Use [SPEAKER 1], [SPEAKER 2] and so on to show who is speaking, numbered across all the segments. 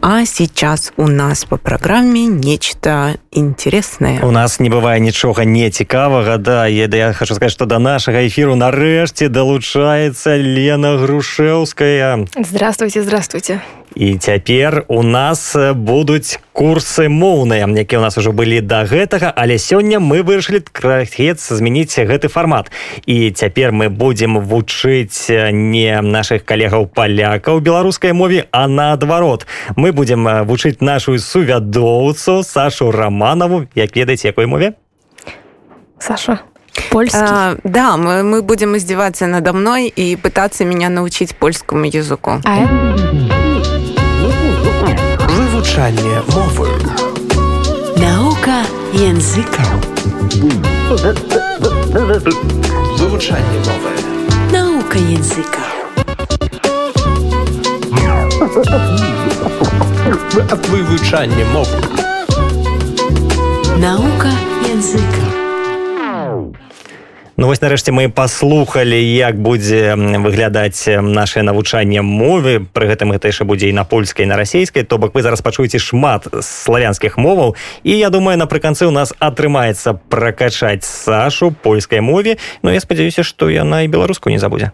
[SPEAKER 1] А сейчас у нас по праграме нечто интереснае.
[SPEAKER 2] У нас не бывае нічога не цікавага да еда я хочу сказать что до нашага эфіру нарэшце далучаецца Лена грушеўская
[SPEAKER 3] Здравствуйте, здравствуйте.
[SPEAKER 2] і цяпер у нас э, будуць курсы моўныя якія у нас ужо былі да гэтага але сёння мы вырашылі крахец змяніць гэты фармат і цяпер мы будзем вучыць э, не наших калегаў палякаў беларускай мове а наадварот мы будзем э, вучыць нашу сувядоўцу Сашу раманаву як ведаеце якой мове
[SPEAKER 3] Саша. Польский. А,
[SPEAKER 1] А, да, мы, мы будем издеваться надо мной и пытаться меня научить польскому языку.
[SPEAKER 3] э-
[SPEAKER 4] Вывучанне мовы
[SPEAKER 5] Наука языка.
[SPEAKER 4] Вывучанне мовы
[SPEAKER 5] Наука языка.
[SPEAKER 4] Вывучанне мовы
[SPEAKER 5] Наука языка.
[SPEAKER 2] Ну вось нарэшце мы паслухалі як будзе м, выглядаць э, наше навучанне мовы пры гэтым гэта яшчэ будзе і на польскай і на расійскай то бок вы зараз пачуеце шмат славянскіх моваў і я думаю напрыканцы у нас атрымаецца пракачаць Сашу польскай мове Ну я спадзяюся што яна і беларуску не забудзе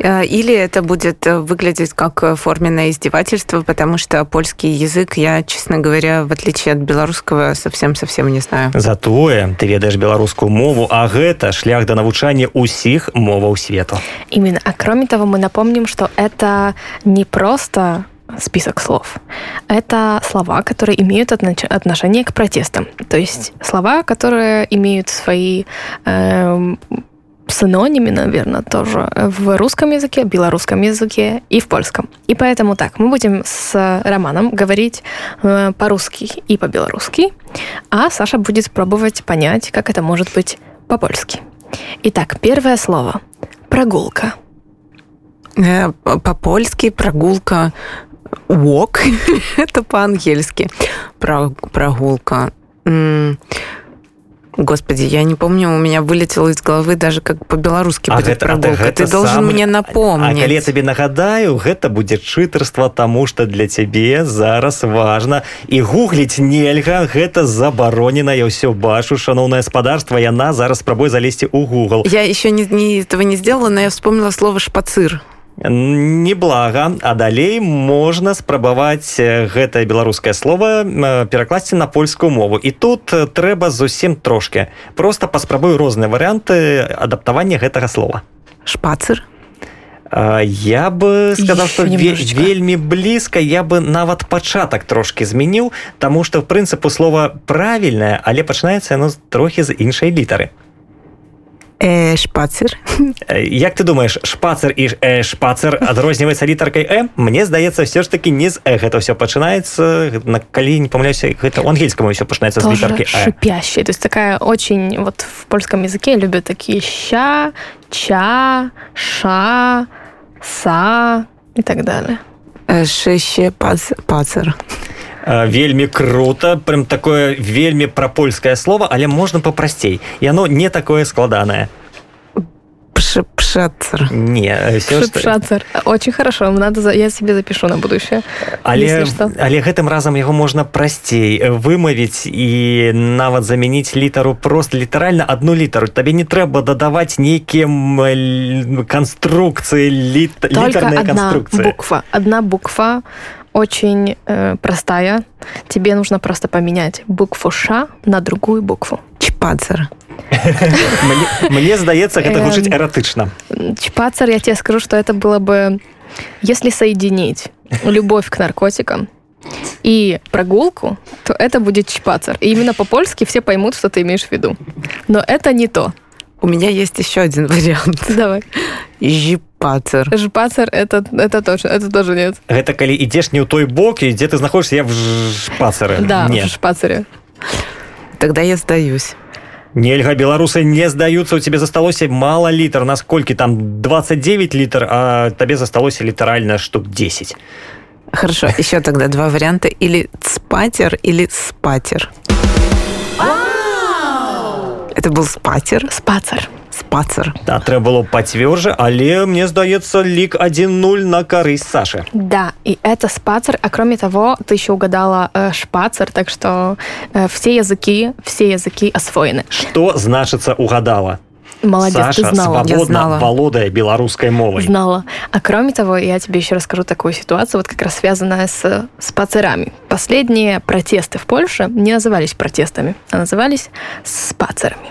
[SPEAKER 1] Э, Или это будет э, выглядеть как э, форменное издевательство, потому что польский язык я, честно говоря, в отличие от белорусского, совсем-совсем не знаю.
[SPEAKER 2] затое ты ведаеш беларускую мову а гэта шлях да навучання ўсіх моваў свету
[SPEAKER 3] Именно. А кроме того, мы напомним, что это не просто список слов. Это слова, которые имеют отноч- отношение к протестам. То есть слова, которые имеют свои эм, синонимы, наверное, тоже в русском языке, белорусском языке и в польском. И поэтому так, мы будем с Романом говорить э, по-русски и по-белорусски, а Саша будет пробовать понять, как это может быть по-польски. Итак, первое слово – Прогулка.
[SPEAKER 1] Э, по- По-польски прогулка walk, это по-ангельски Про- прогулка. М, Господи, я не помню, у меня вылетело из головы даже как по-белорусски
[SPEAKER 2] А
[SPEAKER 1] будет
[SPEAKER 2] гэта- а
[SPEAKER 1] прогулка.
[SPEAKER 2] гэта
[SPEAKER 1] Ты должен
[SPEAKER 2] самы-
[SPEAKER 1] мне
[SPEAKER 2] А
[SPEAKER 1] напомнить.
[SPEAKER 2] калі я табе нагадаю, гэта будзе чытарства, таму што для цябе зараз важна і гугліць нельга, гэта забаронена. Я ўсё бачу, шаноўнае спадарства, яна зараз спрабуе залезці ў Google.
[SPEAKER 1] Я еще не, не- этого не сделала, но я вспомнила слово шпацир.
[SPEAKER 2] Неблага, а далей можна спрабаваць э, гэтае беларускае слова э, перакласці на польскую мову. І тут э, трэба зусім трошкі. Просто паспрабую розныя варыянты адаптавання гэтага слова.
[SPEAKER 1] Шпацир.
[SPEAKER 2] А, Я бы сказал,
[SPEAKER 3] Ещё
[SPEAKER 2] что ве-
[SPEAKER 3] немножечко.
[SPEAKER 2] вельмі блізка я бы нават пачатак трошки змяніў, таму што в прынцыпу слова правільнае, але пачынаецца яно з- трохі з іншай літары.
[SPEAKER 1] Э, шпацир.
[SPEAKER 2] Э, Як ты думаешь, шпацер і ж- э, шпацер адрозніваецца літаркай М? Мне здаецца, все ж таки не з э гэта все пачынаецца, г- на- калі не памыляюся, гэта у ангельскаму все пачынаецца з
[SPEAKER 3] Тоже
[SPEAKER 2] літаркі Э.
[SPEAKER 3] шипящая. То есть такая очень... Вот в польском языке любят такие ща, ча, ша, са и так далее.
[SPEAKER 1] Э, шище пац- пацир.
[SPEAKER 2] Э, вельмі круто прям такое вельмі прапольскае слово але можна папрасцей яно не такое складанае
[SPEAKER 1] Пш, пшацир.
[SPEAKER 2] не все,
[SPEAKER 3] Шипшацер. Очень хорошо. Надо за- Я себе запишу на будущее.
[SPEAKER 2] але
[SPEAKER 3] Если што.
[SPEAKER 2] але гэтым разам яго можна прасцей э, вымавіць і нават замяніць літару просто літаральна одну літару табе не трэба дадаваць нейкім э, л- канструкцыі літ
[SPEAKER 3] Только
[SPEAKER 2] літарныя
[SPEAKER 3] одна
[SPEAKER 2] канструкцыі
[SPEAKER 3] буква. Одна буква очень э, простая. Тебе нужно просто поменять букву ша на другую букву.
[SPEAKER 1] Чпацир.
[SPEAKER 2] мне, мне здаецца гэта
[SPEAKER 3] Эм.
[SPEAKER 2] гучыць эратычна
[SPEAKER 3] Чпацер, я тебе скажу, что это было бы, если соединить любовь к наркотикам и прогулку, то это будет чпацер. И именно по-польски все поймут, что ты имеешь в виду. Но это не то.
[SPEAKER 1] У меня есть еще один вариант.
[SPEAKER 3] Давай.
[SPEAKER 1] Жипацир.
[SPEAKER 3] Жпацер, это, это тоже, это тоже нет.
[SPEAKER 2] гэта калі ідзеш не ў той бок і дзе ты знаходишься я в шпацары
[SPEAKER 3] Да,
[SPEAKER 2] не
[SPEAKER 3] в шпацере.
[SPEAKER 1] Тогда я сдаюсь.
[SPEAKER 2] нельга беларусы не здаюцца у тебе засталося мало літар насколькі там 29 літар а табе засталося літаральна штук 10
[SPEAKER 1] Хорошо, еще тогда два варианта. Или спатер, или спатер. Это был спатер.
[SPEAKER 3] Спацер.
[SPEAKER 1] шпацар
[SPEAKER 2] А трэба было пацвёрже, але мне здаецца лік 1-0 на карысць Сашы.
[SPEAKER 3] Да, и это спацер, а кроме того, ты еще угадала э, шпацер, так что э, все языки, все языки освоены.
[SPEAKER 2] Што значыцца угадала.
[SPEAKER 3] Молодец,
[SPEAKER 2] Саша
[SPEAKER 3] ты знала.
[SPEAKER 1] Я знала.
[SPEAKER 2] свабодна валодае беларускай мовай.
[SPEAKER 3] Знала. А кроме того, я тебе еще расскажу такую ситуацию, вот как раз связанная с спацерами. Последние протесты в Польше не назывались протестами, а назывались спацерами.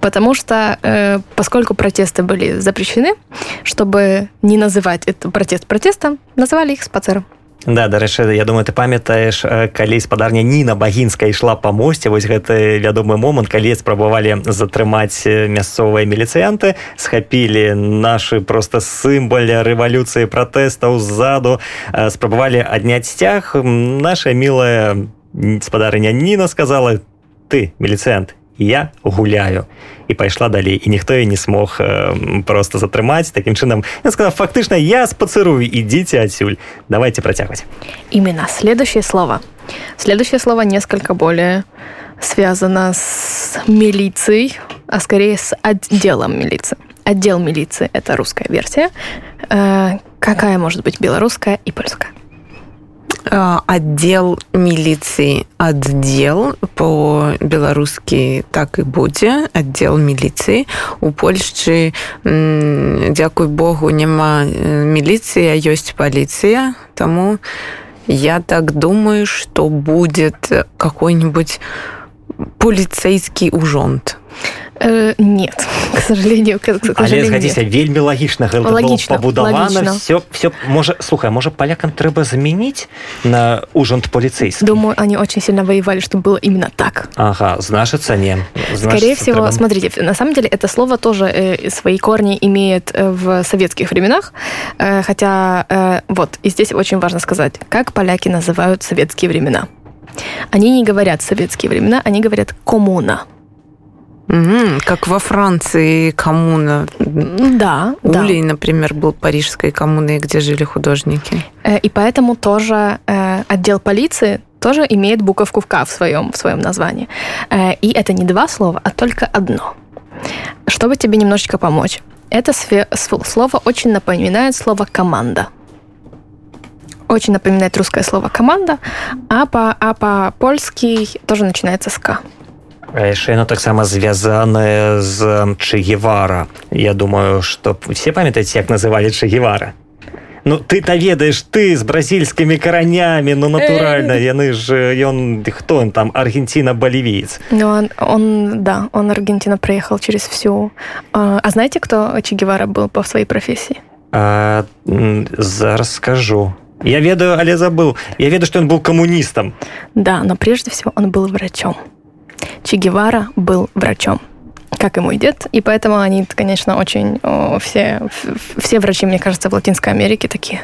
[SPEAKER 3] Потому что, э, поскольку протесты были запрещены, чтобы не называть это протест протестом, называли их спацером.
[SPEAKER 2] Да, дарэчы я думаю ты памятаеш э, калі спадарня Ніна багінска ішла па мосце вось гэты вядомы момант калі спрабавалі затрымаць э, мясцовыя міліцыянты схапілі нашы просто сімбаля рэвалюцыі пратэстаў ззаду э, спрабавалі адняць сцяг М, наша мілая м, спадарня Ніна сказала ты міліцыянт я гуляю і пайшла далей і ніхто і не смог э, просто затрымаць такім чынам я сказал фактычна я спацырую ідзіце адсюль давайте працягваць
[SPEAKER 3] Именно. Следующее слово. Следующее слово несколько более связано с милицией, а скорее с отделом милиции. Отдел милиции – это русская версия. Э, какая может быть белорусская и польская?
[SPEAKER 1] А, отдел милиции отдел по-беларускі так і будзе отдел міліцыі у Польшчы м, дзякуй Богу няма э, міліцыя ёсць паліцыя тому я так думаю что будет какой-нибудь поліцейский ужонт
[SPEAKER 3] Э, нет, к сожалению, к, к
[SPEAKER 2] але
[SPEAKER 3] сожалению, нет.
[SPEAKER 2] згадзіся вельмі лагічна гэта было
[SPEAKER 3] Лагічна,
[SPEAKER 2] пабудавана
[SPEAKER 3] лагічна.
[SPEAKER 2] все все можа слухай можа палякам трэба замяніць на ужант поліцейск
[SPEAKER 3] Думаю, они очень сильно воевали, чтобы было именно так.
[SPEAKER 2] Ага значыцца не
[SPEAKER 3] Скорее
[SPEAKER 2] Значыцца,
[SPEAKER 3] всего,
[SPEAKER 2] трэба-
[SPEAKER 3] смотрите, на самом деле это слово тоже э, свои корни имеет э, в советских временах, Э, хотя э, вот и здесь очень важно сказать, как поляки называют советские времена. Они не говорят советские времена, они говорят коммуна.
[SPEAKER 1] Мгм, как во Франции коммуна
[SPEAKER 3] Да, да.
[SPEAKER 1] Улей, например, был парижской коммуной, где жили художники.
[SPEAKER 3] Э, И поэтому тоже э, отдел полиции тоже имеет буковку «К» в своем, в своем названии. Э, И это не два слова, а только одно. Чтобы тебе немножечко помочь. Это све- св- слово очень напоминает слово «команда». Очень напоминает русское слово «команда», а по, а по-польски тоже начинается с «к».
[SPEAKER 2] А яшчэ яно таксама звязанае з Чыгевара. Я думаю, што все памятаюць, як называлі Чыгевара. Ну ты та ведаеш ты з бразільскімі каранямі, ну натуральна, яны ж э, ён хто ён там аргенціна балівіец.
[SPEAKER 3] Но он, он, да, он Аргентина проехал через всю... э, А знаете, кто Че Гевара был по своей профессии?
[SPEAKER 2] А, м, зараз скажу. Я ведаю, але забыл. Я ведаю, што ён быў камуністам.
[SPEAKER 3] Да, но прежде всего он был врачом. Че Гевара был врачом, как и мой дед, и поэтому они, конечно, очень о, все, ф- все врачи, мне кажется, в Латинской Америке такие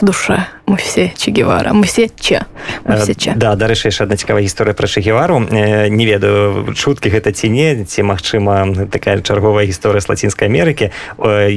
[SPEAKER 3] в душе. Мы все Че Гевара, мы все Че, мы
[SPEAKER 2] Э,
[SPEAKER 3] все Че.
[SPEAKER 2] Да, дарэчы яшчэ адна цікавая гісторыя пра Шагевару Э, не ведаю чуткі гэта ці не ці магчыма такая чарговая гісторыя з лацінскай Амерыкі Э,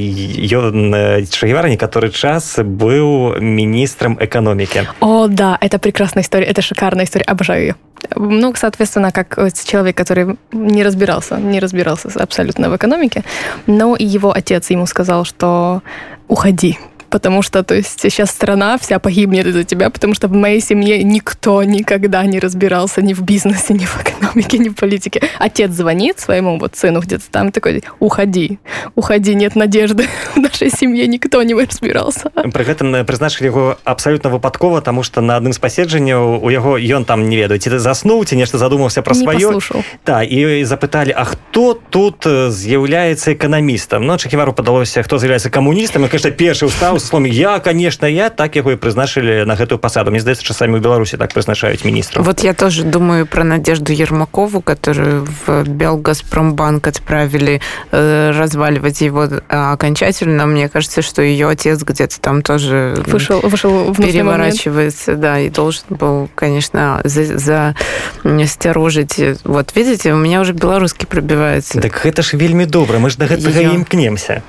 [SPEAKER 2] ён Шагевара некаторы час быў міністрам эканомікі
[SPEAKER 3] О, да, это прекрасная история, это шикарная история, обожаю ее. Ну, соответственно, как э, человек, который не разбирался, не разбирался с- абсолютно в экономике, но и его отец ему сказал, что уходи, потому что, то есть, сейчас страна вся погибнет из-за тебя, потому что в моей семье никто никогда не разбирался ни в бизнесе, ни в экономике, ни в политике. Отец звонит своему вот сыну где-то там и такой, уходи, уходи, нет надежды, в нашей семье никто не разбирался.
[SPEAKER 2] пры гэтым э, прызначылі яго абсалютна выпадкова таму што на адным з паседжанняў у яго ён там не ведаю ці ты заснуў ці нешта задумаўся пра
[SPEAKER 3] не
[SPEAKER 2] сваё
[SPEAKER 3] послушал.
[SPEAKER 2] Та і запыталі А хто тут э, з'яўляецца эканамістам Ну чакевару падалося хто з'яўляецца камуністам і, конечно першы устаў слом я конечно я так яго і прызначылі на гэтую пасаду Мне здаецца часамі у беларусі так прызначаюць міністру
[SPEAKER 1] Вот я тоже думаю про Надежду Ермакову, которую в Белгазпромбанк отправили э, разваливать его э, окончательно. Мне кажется, что ее отец где-то там тоже м,
[SPEAKER 3] вышел, вышел в нужный момент.
[SPEAKER 1] переворачивается, да, и должен был, конечно, за, за м, стерожить. Вот видите, у меня уже белорусский пробивается.
[SPEAKER 2] Так гэта ж вельмі добра мы ж да
[SPEAKER 1] Я-
[SPEAKER 2] гэтага я... імкнемся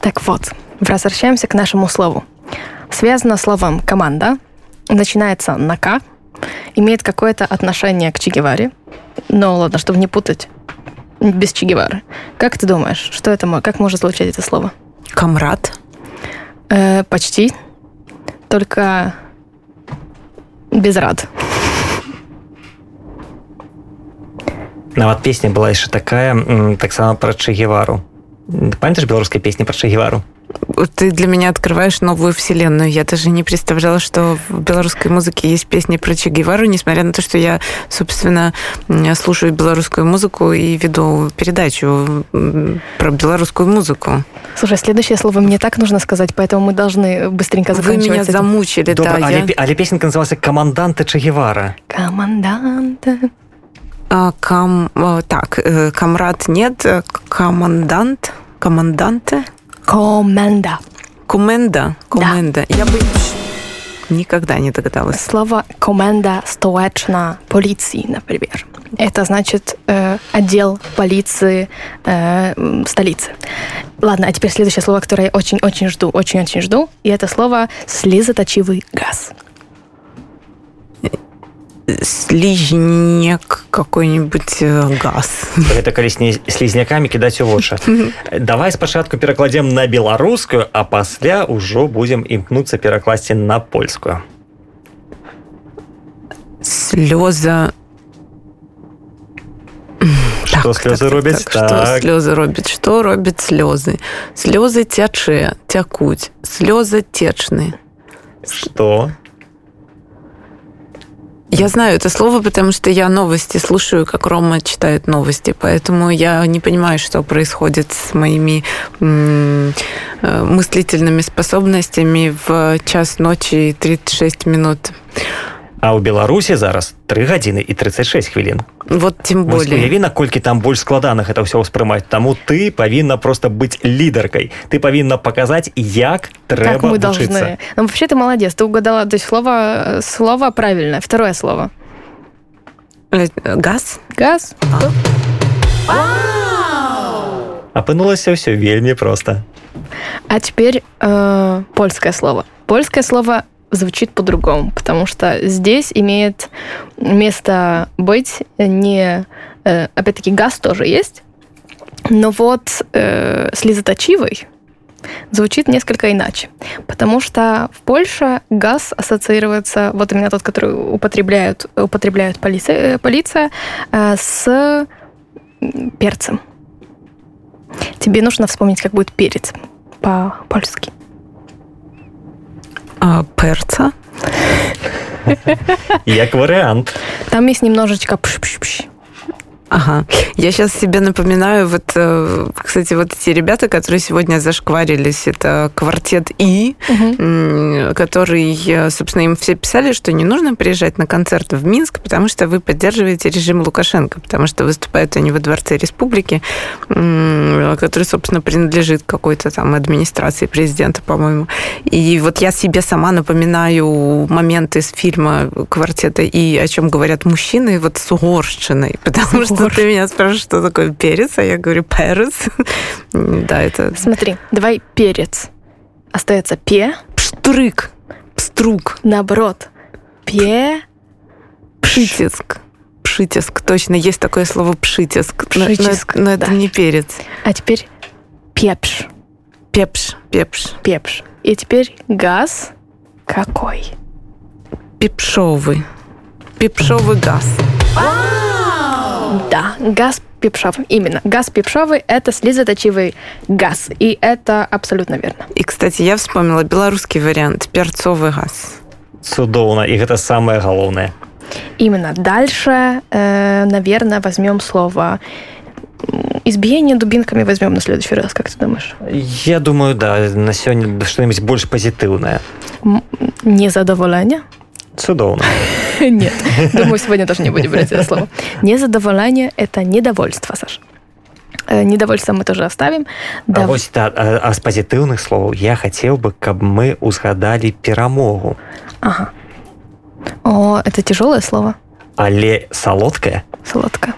[SPEAKER 3] Так вот, возвращаемся к нашему слову. Связано словом «команда», начинается на «к», имеет какое-то отношение к Чегеваре. Но ладно, чтобы не путать, без Че Гевары. Как ты думаешь, что это, мо- как может звучать это слово?
[SPEAKER 1] Камрад.
[SPEAKER 3] Э, почти, только без рад.
[SPEAKER 2] А вот песня была еще такая, м, так само про Че Гевару. М, ты Помнишь белорусская песня про Че Гевару?
[SPEAKER 1] Ты для меня открываешь новую вселенную. Я даже не представляла, что в белорусской музыке есть песни про Че Гевару, несмотря на то, что я, собственно, м, слушаю белорусскую музыку и веду передачу м, про белорусскую музыку.
[SPEAKER 3] Слушай, следующее слово мне так нужно сказать, поэтому мы должны быстренько
[SPEAKER 1] Вы
[SPEAKER 3] заканчивать.
[SPEAKER 1] меня
[SPEAKER 3] с этим.
[SPEAKER 1] замучили,
[SPEAKER 2] Добра,
[SPEAKER 1] да.
[SPEAKER 2] але,
[SPEAKER 1] я-
[SPEAKER 2] а пе- але песенка называлась «Команданты Че Гевара».
[SPEAKER 3] Команданта.
[SPEAKER 1] А, кам- а, так, э, камрад нет, э, к- командант, команданты,
[SPEAKER 3] Команда.
[SPEAKER 1] коменда, коменда. Я бы никогда не догадалась.
[SPEAKER 3] Слово «команда» стоечна полиции, например. Это значит э, отдел полиции э, м, столицы. Ладно, а теперь следующее слово, которое я очень-очень жду, очень-очень жду. И это слово «слезоточивый газ».
[SPEAKER 1] Слижняк какой-нибудь э, газ.
[SPEAKER 2] Гэта калі сні- слізнякамі кідаць у вочы. Давай спачатку перакладзем на беларускую, а пасля ўжо будзем імкнуцца перакласці на польскую.
[SPEAKER 1] Слеза. Так,
[SPEAKER 2] Што слёзы робяць?
[SPEAKER 1] Что
[SPEAKER 2] Так.
[SPEAKER 1] слезы робят? Что робят слезы? Слезы тяче, тякуть. Слезы течны.
[SPEAKER 2] Што?
[SPEAKER 1] Я знаю это слово, потому что я новости слушаю, как Рома читает новости, поэтому я не понимаю, что происходит с моими м, э, мыслительными способностями в час ночи и 36 минут.
[SPEAKER 2] А ў Беларусі зараз 3 гадзіны і 36 хвілін.
[SPEAKER 1] Вот тем
[SPEAKER 2] Вось
[SPEAKER 1] более.
[SPEAKER 2] Уяві, наколькі там больш складана гэта ўсё ўспрымаць. Таму ты павінна проста быць лідаркай. Ты павінна паказаць, як
[SPEAKER 3] Как Так
[SPEAKER 2] трэба вучыцца.
[SPEAKER 3] мы должны. Ну, вообще ты молодец, ты угадала. То есть слово, слово правильное, второе слово.
[SPEAKER 1] Э, Газ?
[SPEAKER 3] Газ.
[SPEAKER 2] Апынулася ўсё вельмі проста.
[SPEAKER 3] А теперь э, польское слово. Польское слово звучит по-другому, потому что здесь имеет место быть не... э, опять-таки газ тоже есть, но вот э, слезоточивый звучит несколько иначе, потому что в Польше газ ассоциируется, вот именно тот, который употребляют, употребляют полиция, э, полиция э, с м, перцем. Тебе нужно вспомнить, как будет перец по-польски.
[SPEAKER 1] А, перца?
[SPEAKER 2] Як варыянт.
[SPEAKER 3] Там есть немножечко пш-пш-пш.
[SPEAKER 1] Ага. Я сейчас себе напоминаю, вот, э, кстати, вот эти ребята, которые сегодня зашкварились, это квартет И, м, который, э, собственно, им все писали, что не нужно приезжать на концерт в Минск, потому что вы поддерживаете режим Лукашенко, потому что выступают они во Дворце Республики, м, который, собственно, принадлежит какой-то там администрации президента, по-моему. И вот я себе сама напоминаю момент из фильма «Квартета» и о чем говорят мужчины, вот с угорщиной, потому что ты меня спрашиваешь, что такое перец, а я говорю «перец». Да, это
[SPEAKER 3] Смотри, давай перец. Остается пе,
[SPEAKER 1] пштрык, пструк.
[SPEAKER 3] наоборот. Пе,
[SPEAKER 1] Пшитиск. Пшитиск, точно, есть такое слово пшитиск. Но- но-
[SPEAKER 3] Пшитиск,
[SPEAKER 1] Но, это
[SPEAKER 3] да.
[SPEAKER 1] не перец.
[SPEAKER 3] а теперь пепш,
[SPEAKER 1] Пепш, пепш.
[SPEAKER 3] пепш. И теперь газ какой?
[SPEAKER 1] Пепшовый. Пепшовый газ.
[SPEAKER 3] Да, газ пепшовый. Именно, газ пепшовый – это слезоточивый газ. И это абсолютно верно.
[SPEAKER 1] И, кстати, я вспомнила белорусский вариант. Перцовый газ.
[SPEAKER 2] Цудоўна і гэта самае галоўнае.
[SPEAKER 3] Именно. Дальше, э, наверное, возьмем слово м, избиение дубинками возьмем на следующий раз, как ты думаешь?
[SPEAKER 2] Я думаю, да, на сёння што-небудзь больш пазітыўнае.
[SPEAKER 3] Незадоволение?
[SPEAKER 2] Цудоўна.
[SPEAKER 3] Нет. Думаю, сегодня тоже не будем брать это слово. Незадоволение – это недовольство, Саша. Э, Недовольство мы тоже оставим.
[SPEAKER 2] А
[SPEAKER 3] Дав-
[SPEAKER 2] вось да, а, а з пазітыўных словаў я хацеў бы, каб мы узгадалі перамогу,
[SPEAKER 3] Ага. О, это тяжелое слово.
[SPEAKER 2] але салодкае.
[SPEAKER 3] Сладко.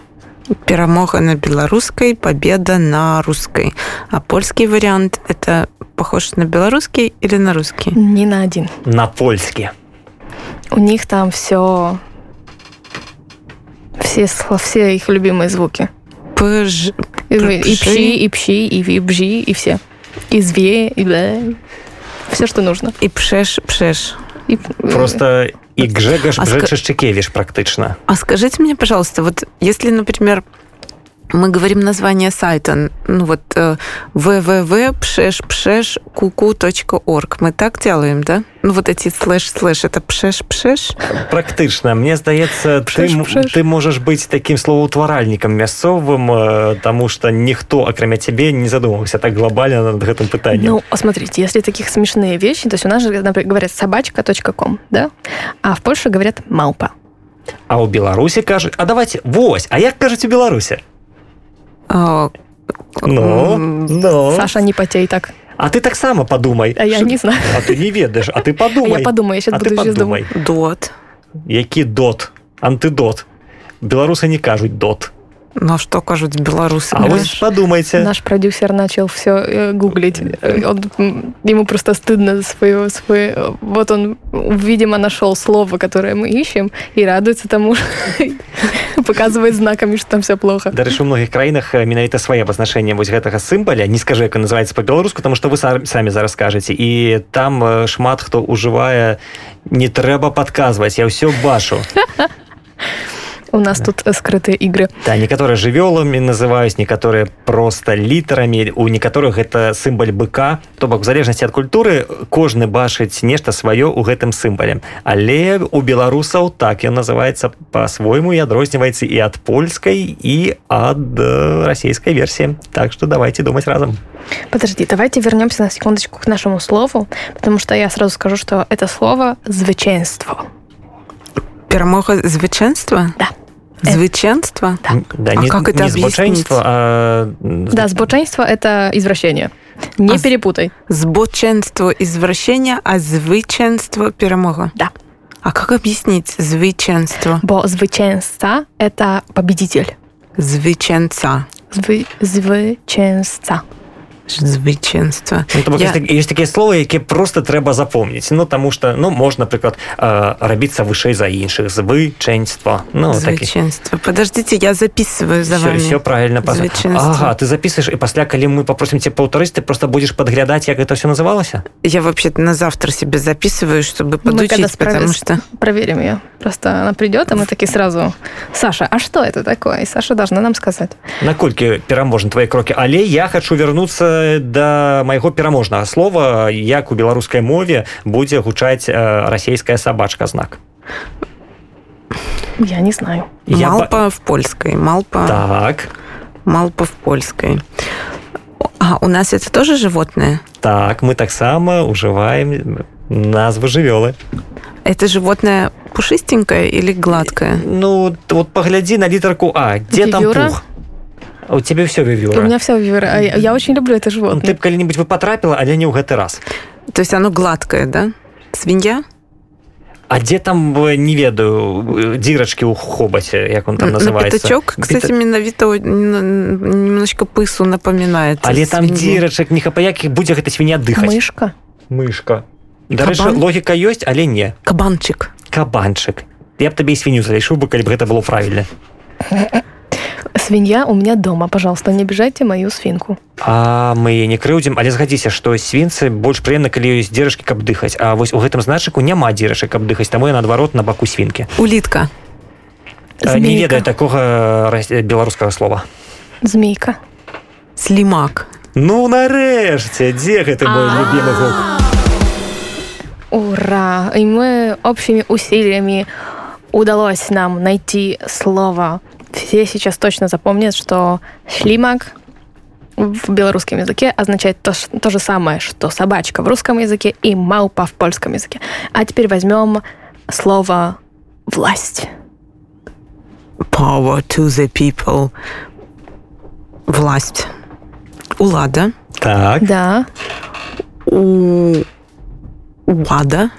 [SPEAKER 1] Перемога на белорусской, победа на русской. А польский вариант – это похож на белорусский или на русский?
[SPEAKER 3] Ни на один.
[SPEAKER 2] на польскі.
[SPEAKER 3] У них там все... Все, сло- все их любимые звуки.
[SPEAKER 1] Пыж...
[SPEAKER 3] И
[SPEAKER 1] Пши.
[SPEAKER 3] пши, и пши, и вибжи, и все. И зве, и бе. Все, что нужно.
[SPEAKER 1] И пшеш, пшеш.
[SPEAKER 3] И- э,
[SPEAKER 2] Просто і Гжегаш
[SPEAKER 1] А ска-
[SPEAKER 2] Бжечешчикевіш практично.
[SPEAKER 1] А скажите мне, пожалуйста, вот если, например, мы говорим название сайта, ну вот э, www.pszeszpszeszkuku.org, мы так делаем, да? Ну вот эти слэш-слэш, это пшеш-пшеш?
[SPEAKER 2] Практично. Мне здаецца, ты,
[SPEAKER 3] Пшэш,
[SPEAKER 2] м-
[SPEAKER 3] пшэш.
[SPEAKER 2] ты можаш быць такім словаўтваральнікам мясцовым, э, таму што ніхто акрамя цябе не задумаўся так глобальна над гэтым пытаннем.
[SPEAKER 3] Ну, смотрите, если таких смешные вещи, то есть у нас же, например, говорят собачка.ком, да? А в Польше говорят маупа.
[SPEAKER 2] А ў Беларусі кажуць, а давайте вось, а як кажуць у Беларусі?
[SPEAKER 1] А,
[SPEAKER 2] Ну,
[SPEAKER 1] м,
[SPEAKER 2] ну.
[SPEAKER 3] Саша, не потей так.
[SPEAKER 2] А ты таксама падумай.
[SPEAKER 3] А я
[SPEAKER 2] Ш-
[SPEAKER 3] не знаю.
[SPEAKER 2] А ты не ведаеш, а ты
[SPEAKER 3] Я
[SPEAKER 2] падумай.
[SPEAKER 3] подумаю, я сейчас
[SPEAKER 2] А ты
[SPEAKER 3] буду здесь думать.
[SPEAKER 2] падумай.
[SPEAKER 1] Дот.
[SPEAKER 2] Які дот, антыдот. Беларусы не кажуць дот.
[SPEAKER 1] Ну а что кажут белорусы?
[SPEAKER 2] А
[SPEAKER 3] Наш-
[SPEAKER 2] вось падумайце.
[SPEAKER 3] Наш продюсер начал все гуглить. Э, он, м, ему просто стыдно за свое, свое. Вот он, м, видимо, нашел слово, которое мы ищем, и радуется тому, показывает знаками, что там все плохо.
[SPEAKER 2] Дарэчы у многіх краінах э, менавіта свае абазначэнне вось гэтага сімбаля не скажу як ён называецца по-беларуску тому что вы сам- самі зараз кажаце і там э, шмат хто ужывае не трэба подказваць я ўсё бачу
[SPEAKER 3] У нас тут э, скрытые игры.
[SPEAKER 2] да некаторыя жывёламі называюць некаторыя просто літарамі у некаторых гэта сімбаль быка то бок в залежнасці ад культуры кожны бачыць нешта сваё ў гэтым сімбале але у беларусаў так ён называецца по-свойму і адрозніваецца і ад польскай і ад э, расійскай версіі так что давайте думаць разам
[SPEAKER 3] Подожди, давайте вернемся на секундочку к нашему слову, потому что я сразу скажу, что это слово «звычайство».
[SPEAKER 1] Перемога звиченства?
[SPEAKER 3] Да.
[SPEAKER 1] Звиченство?
[SPEAKER 2] М, Да,
[SPEAKER 1] А
[SPEAKER 2] не,
[SPEAKER 1] как это
[SPEAKER 2] не збочэнства, а... м,
[SPEAKER 3] Да, «збочайство» — это извращение. Не
[SPEAKER 1] А с-
[SPEAKER 3] перепутай.
[SPEAKER 1] Збоченство – извращение, а звиченство – перемога?
[SPEAKER 3] Да.
[SPEAKER 1] А как объяснить звиченство?
[SPEAKER 3] Бо «звычайство» — это победитель.
[SPEAKER 1] Звиченца.
[SPEAKER 3] Звы... «Звычайство».
[SPEAKER 1] Звиченство.
[SPEAKER 2] Ну, то бок,
[SPEAKER 1] Я-
[SPEAKER 2] ёсць так- ёсць такія словы якія просто трэба запомніць ну таму что ну можна напрыклад э, рабіцца вышэй за іншых звычэнства ну такі
[SPEAKER 1] Звиченство. Подождите, я записываю за вами.
[SPEAKER 2] все правильно пас-
[SPEAKER 1] звычайства.
[SPEAKER 2] Ага ты записываешь і пасля калі мы попросім тебе паўтарыць ты просто будзеш подглядаць як это все называлася
[SPEAKER 1] Я вообще на завтра себе записываю, чтобы
[SPEAKER 3] Ну, Мы когда
[SPEAKER 1] подучить,
[SPEAKER 3] справи-
[SPEAKER 1] потому что...
[SPEAKER 3] Проверим ее. Просто она придет, а мы такие сразу... Саша, а что это такое? И Саша должна нам сказать.
[SPEAKER 2] наколькі пераможны твои крокі але я хочу вярнуцца да майго пераможнага слова як у беларускай мове будзе гучаць э, расійская сабачка знак
[SPEAKER 3] Я не знаю.
[SPEAKER 2] Я ба-
[SPEAKER 1] малпа в польской, малпа,
[SPEAKER 2] так
[SPEAKER 1] малпа в польской. А у нас это тоже животное?
[SPEAKER 2] Так, мы таксама ўжываем назвы жывёлы.
[SPEAKER 1] Это животное пушистенькое или гладкое?
[SPEAKER 2] Ну, т- вот паглядзі на літарку А, дзе там
[SPEAKER 3] Вівюра?
[SPEAKER 2] пух? А У цябе ўсё
[SPEAKER 3] У меня
[SPEAKER 2] вівюра.
[SPEAKER 3] все... Я, я очень люблю это
[SPEAKER 2] Ну,
[SPEAKER 3] животное.
[SPEAKER 2] Ты б калі-небудзь бы патрапіла, але не ў гэты раз.
[SPEAKER 1] То есть оно гладкое, да? Свинья?
[SPEAKER 2] А дзе там э, не ведаю э, дзірачкі ў хобаце, як он там
[SPEAKER 1] Н-
[SPEAKER 2] называецца.
[SPEAKER 1] На пятачок, кстати,
[SPEAKER 2] Біта-
[SPEAKER 1] миновито о- н- немножко пысу напоминает.
[SPEAKER 2] Але там
[SPEAKER 1] свинью.
[SPEAKER 2] дзірачак не хапаякі будзе гэта свіння дыхаць.
[SPEAKER 3] Мышка.
[SPEAKER 2] Мышка. Дарэчы,
[SPEAKER 1] Кабан?
[SPEAKER 2] логіка ёсць, але не.
[SPEAKER 1] Кабанчик.
[SPEAKER 2] Кабанчык. Я б табе і свіню залішыў бы, калі б гэта было правільна.
[SPEAKER 3] Свинья у меня дома, пожалуйста, не обижайте мою свинку.
[SPEAKER 2] А мы яе не крыўдзім, але згадзіся, што свінцы больш прыемна, калі ёсць дзірачкі, каб дыхаць. А вось у гэтым значыку няма дзірачак, каб дыхаць, таму я наадварот на баку свінкі.
[SPEAKER 1] Улитка.
[SPEAKER 2] Э, Не
[SPEAKER 3] Змейка.
[SPEAKER 2] ведаю такога рас- э, беларускага слова.
[SPEAKER 3] Змейка.
[SPEAKER 1] Слимак.
[SPEAKER 2] Ну нарэшце, дзе гэты мой любимы гук?
[SPEAKER 3] Ура! И мы общими усилиями удалось нам найти слово. Все сейчас точно запомнят, что шлимак в белорусском языке означает то, ш- то же самое, что собачка в русском языке и маупа в польском языке. А теперь возьмем слово власть.
[SPEAKER 1] Power to the people. Власть. Улада.
[SPEAKER 2] Так,
[SPEAKER 3] Да.
[SPEAKER 1] У... Уада.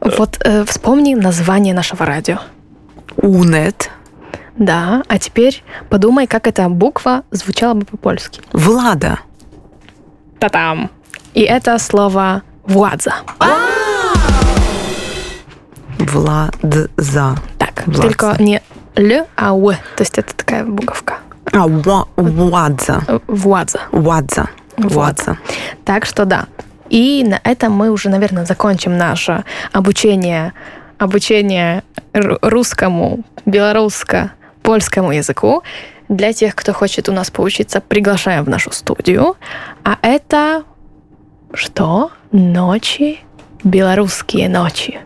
[SPEAKER 3] Вот э, вспомни название нашего радио.
[SPEAKER 1] Унет.
[SPEAKER 3] Да. А теперь подумай, как эта буква звучала бы по-польски.
[SPEAKER 1] Влада.
[SPEAKER 3] Та-там. И это слово владза.
[SPEAKER 1] Владза.
[SPEAKER 3] Так,
[SPEAKER 1] Власть.
[SPEAKER 3] только не л, а у. То есть это такая буковка.
[SPEAKER 1] А, уа- уадза.
[SPEAKER 3] Э, Владза.
[SPEAKER 1] Уадза.
[SPEAKER 3] Владза.
[SPEAKER 1] Уадза.
[SPEAKER 3] Так что да. И на этом мы уже, наверное, закончим наше обучение, обучение ру- русскому, белорусско, польскому языку. Для тех, кто хочет у нас поучиться, приглашаем в нашу студию. А это что? Ночи, белорусские ночи.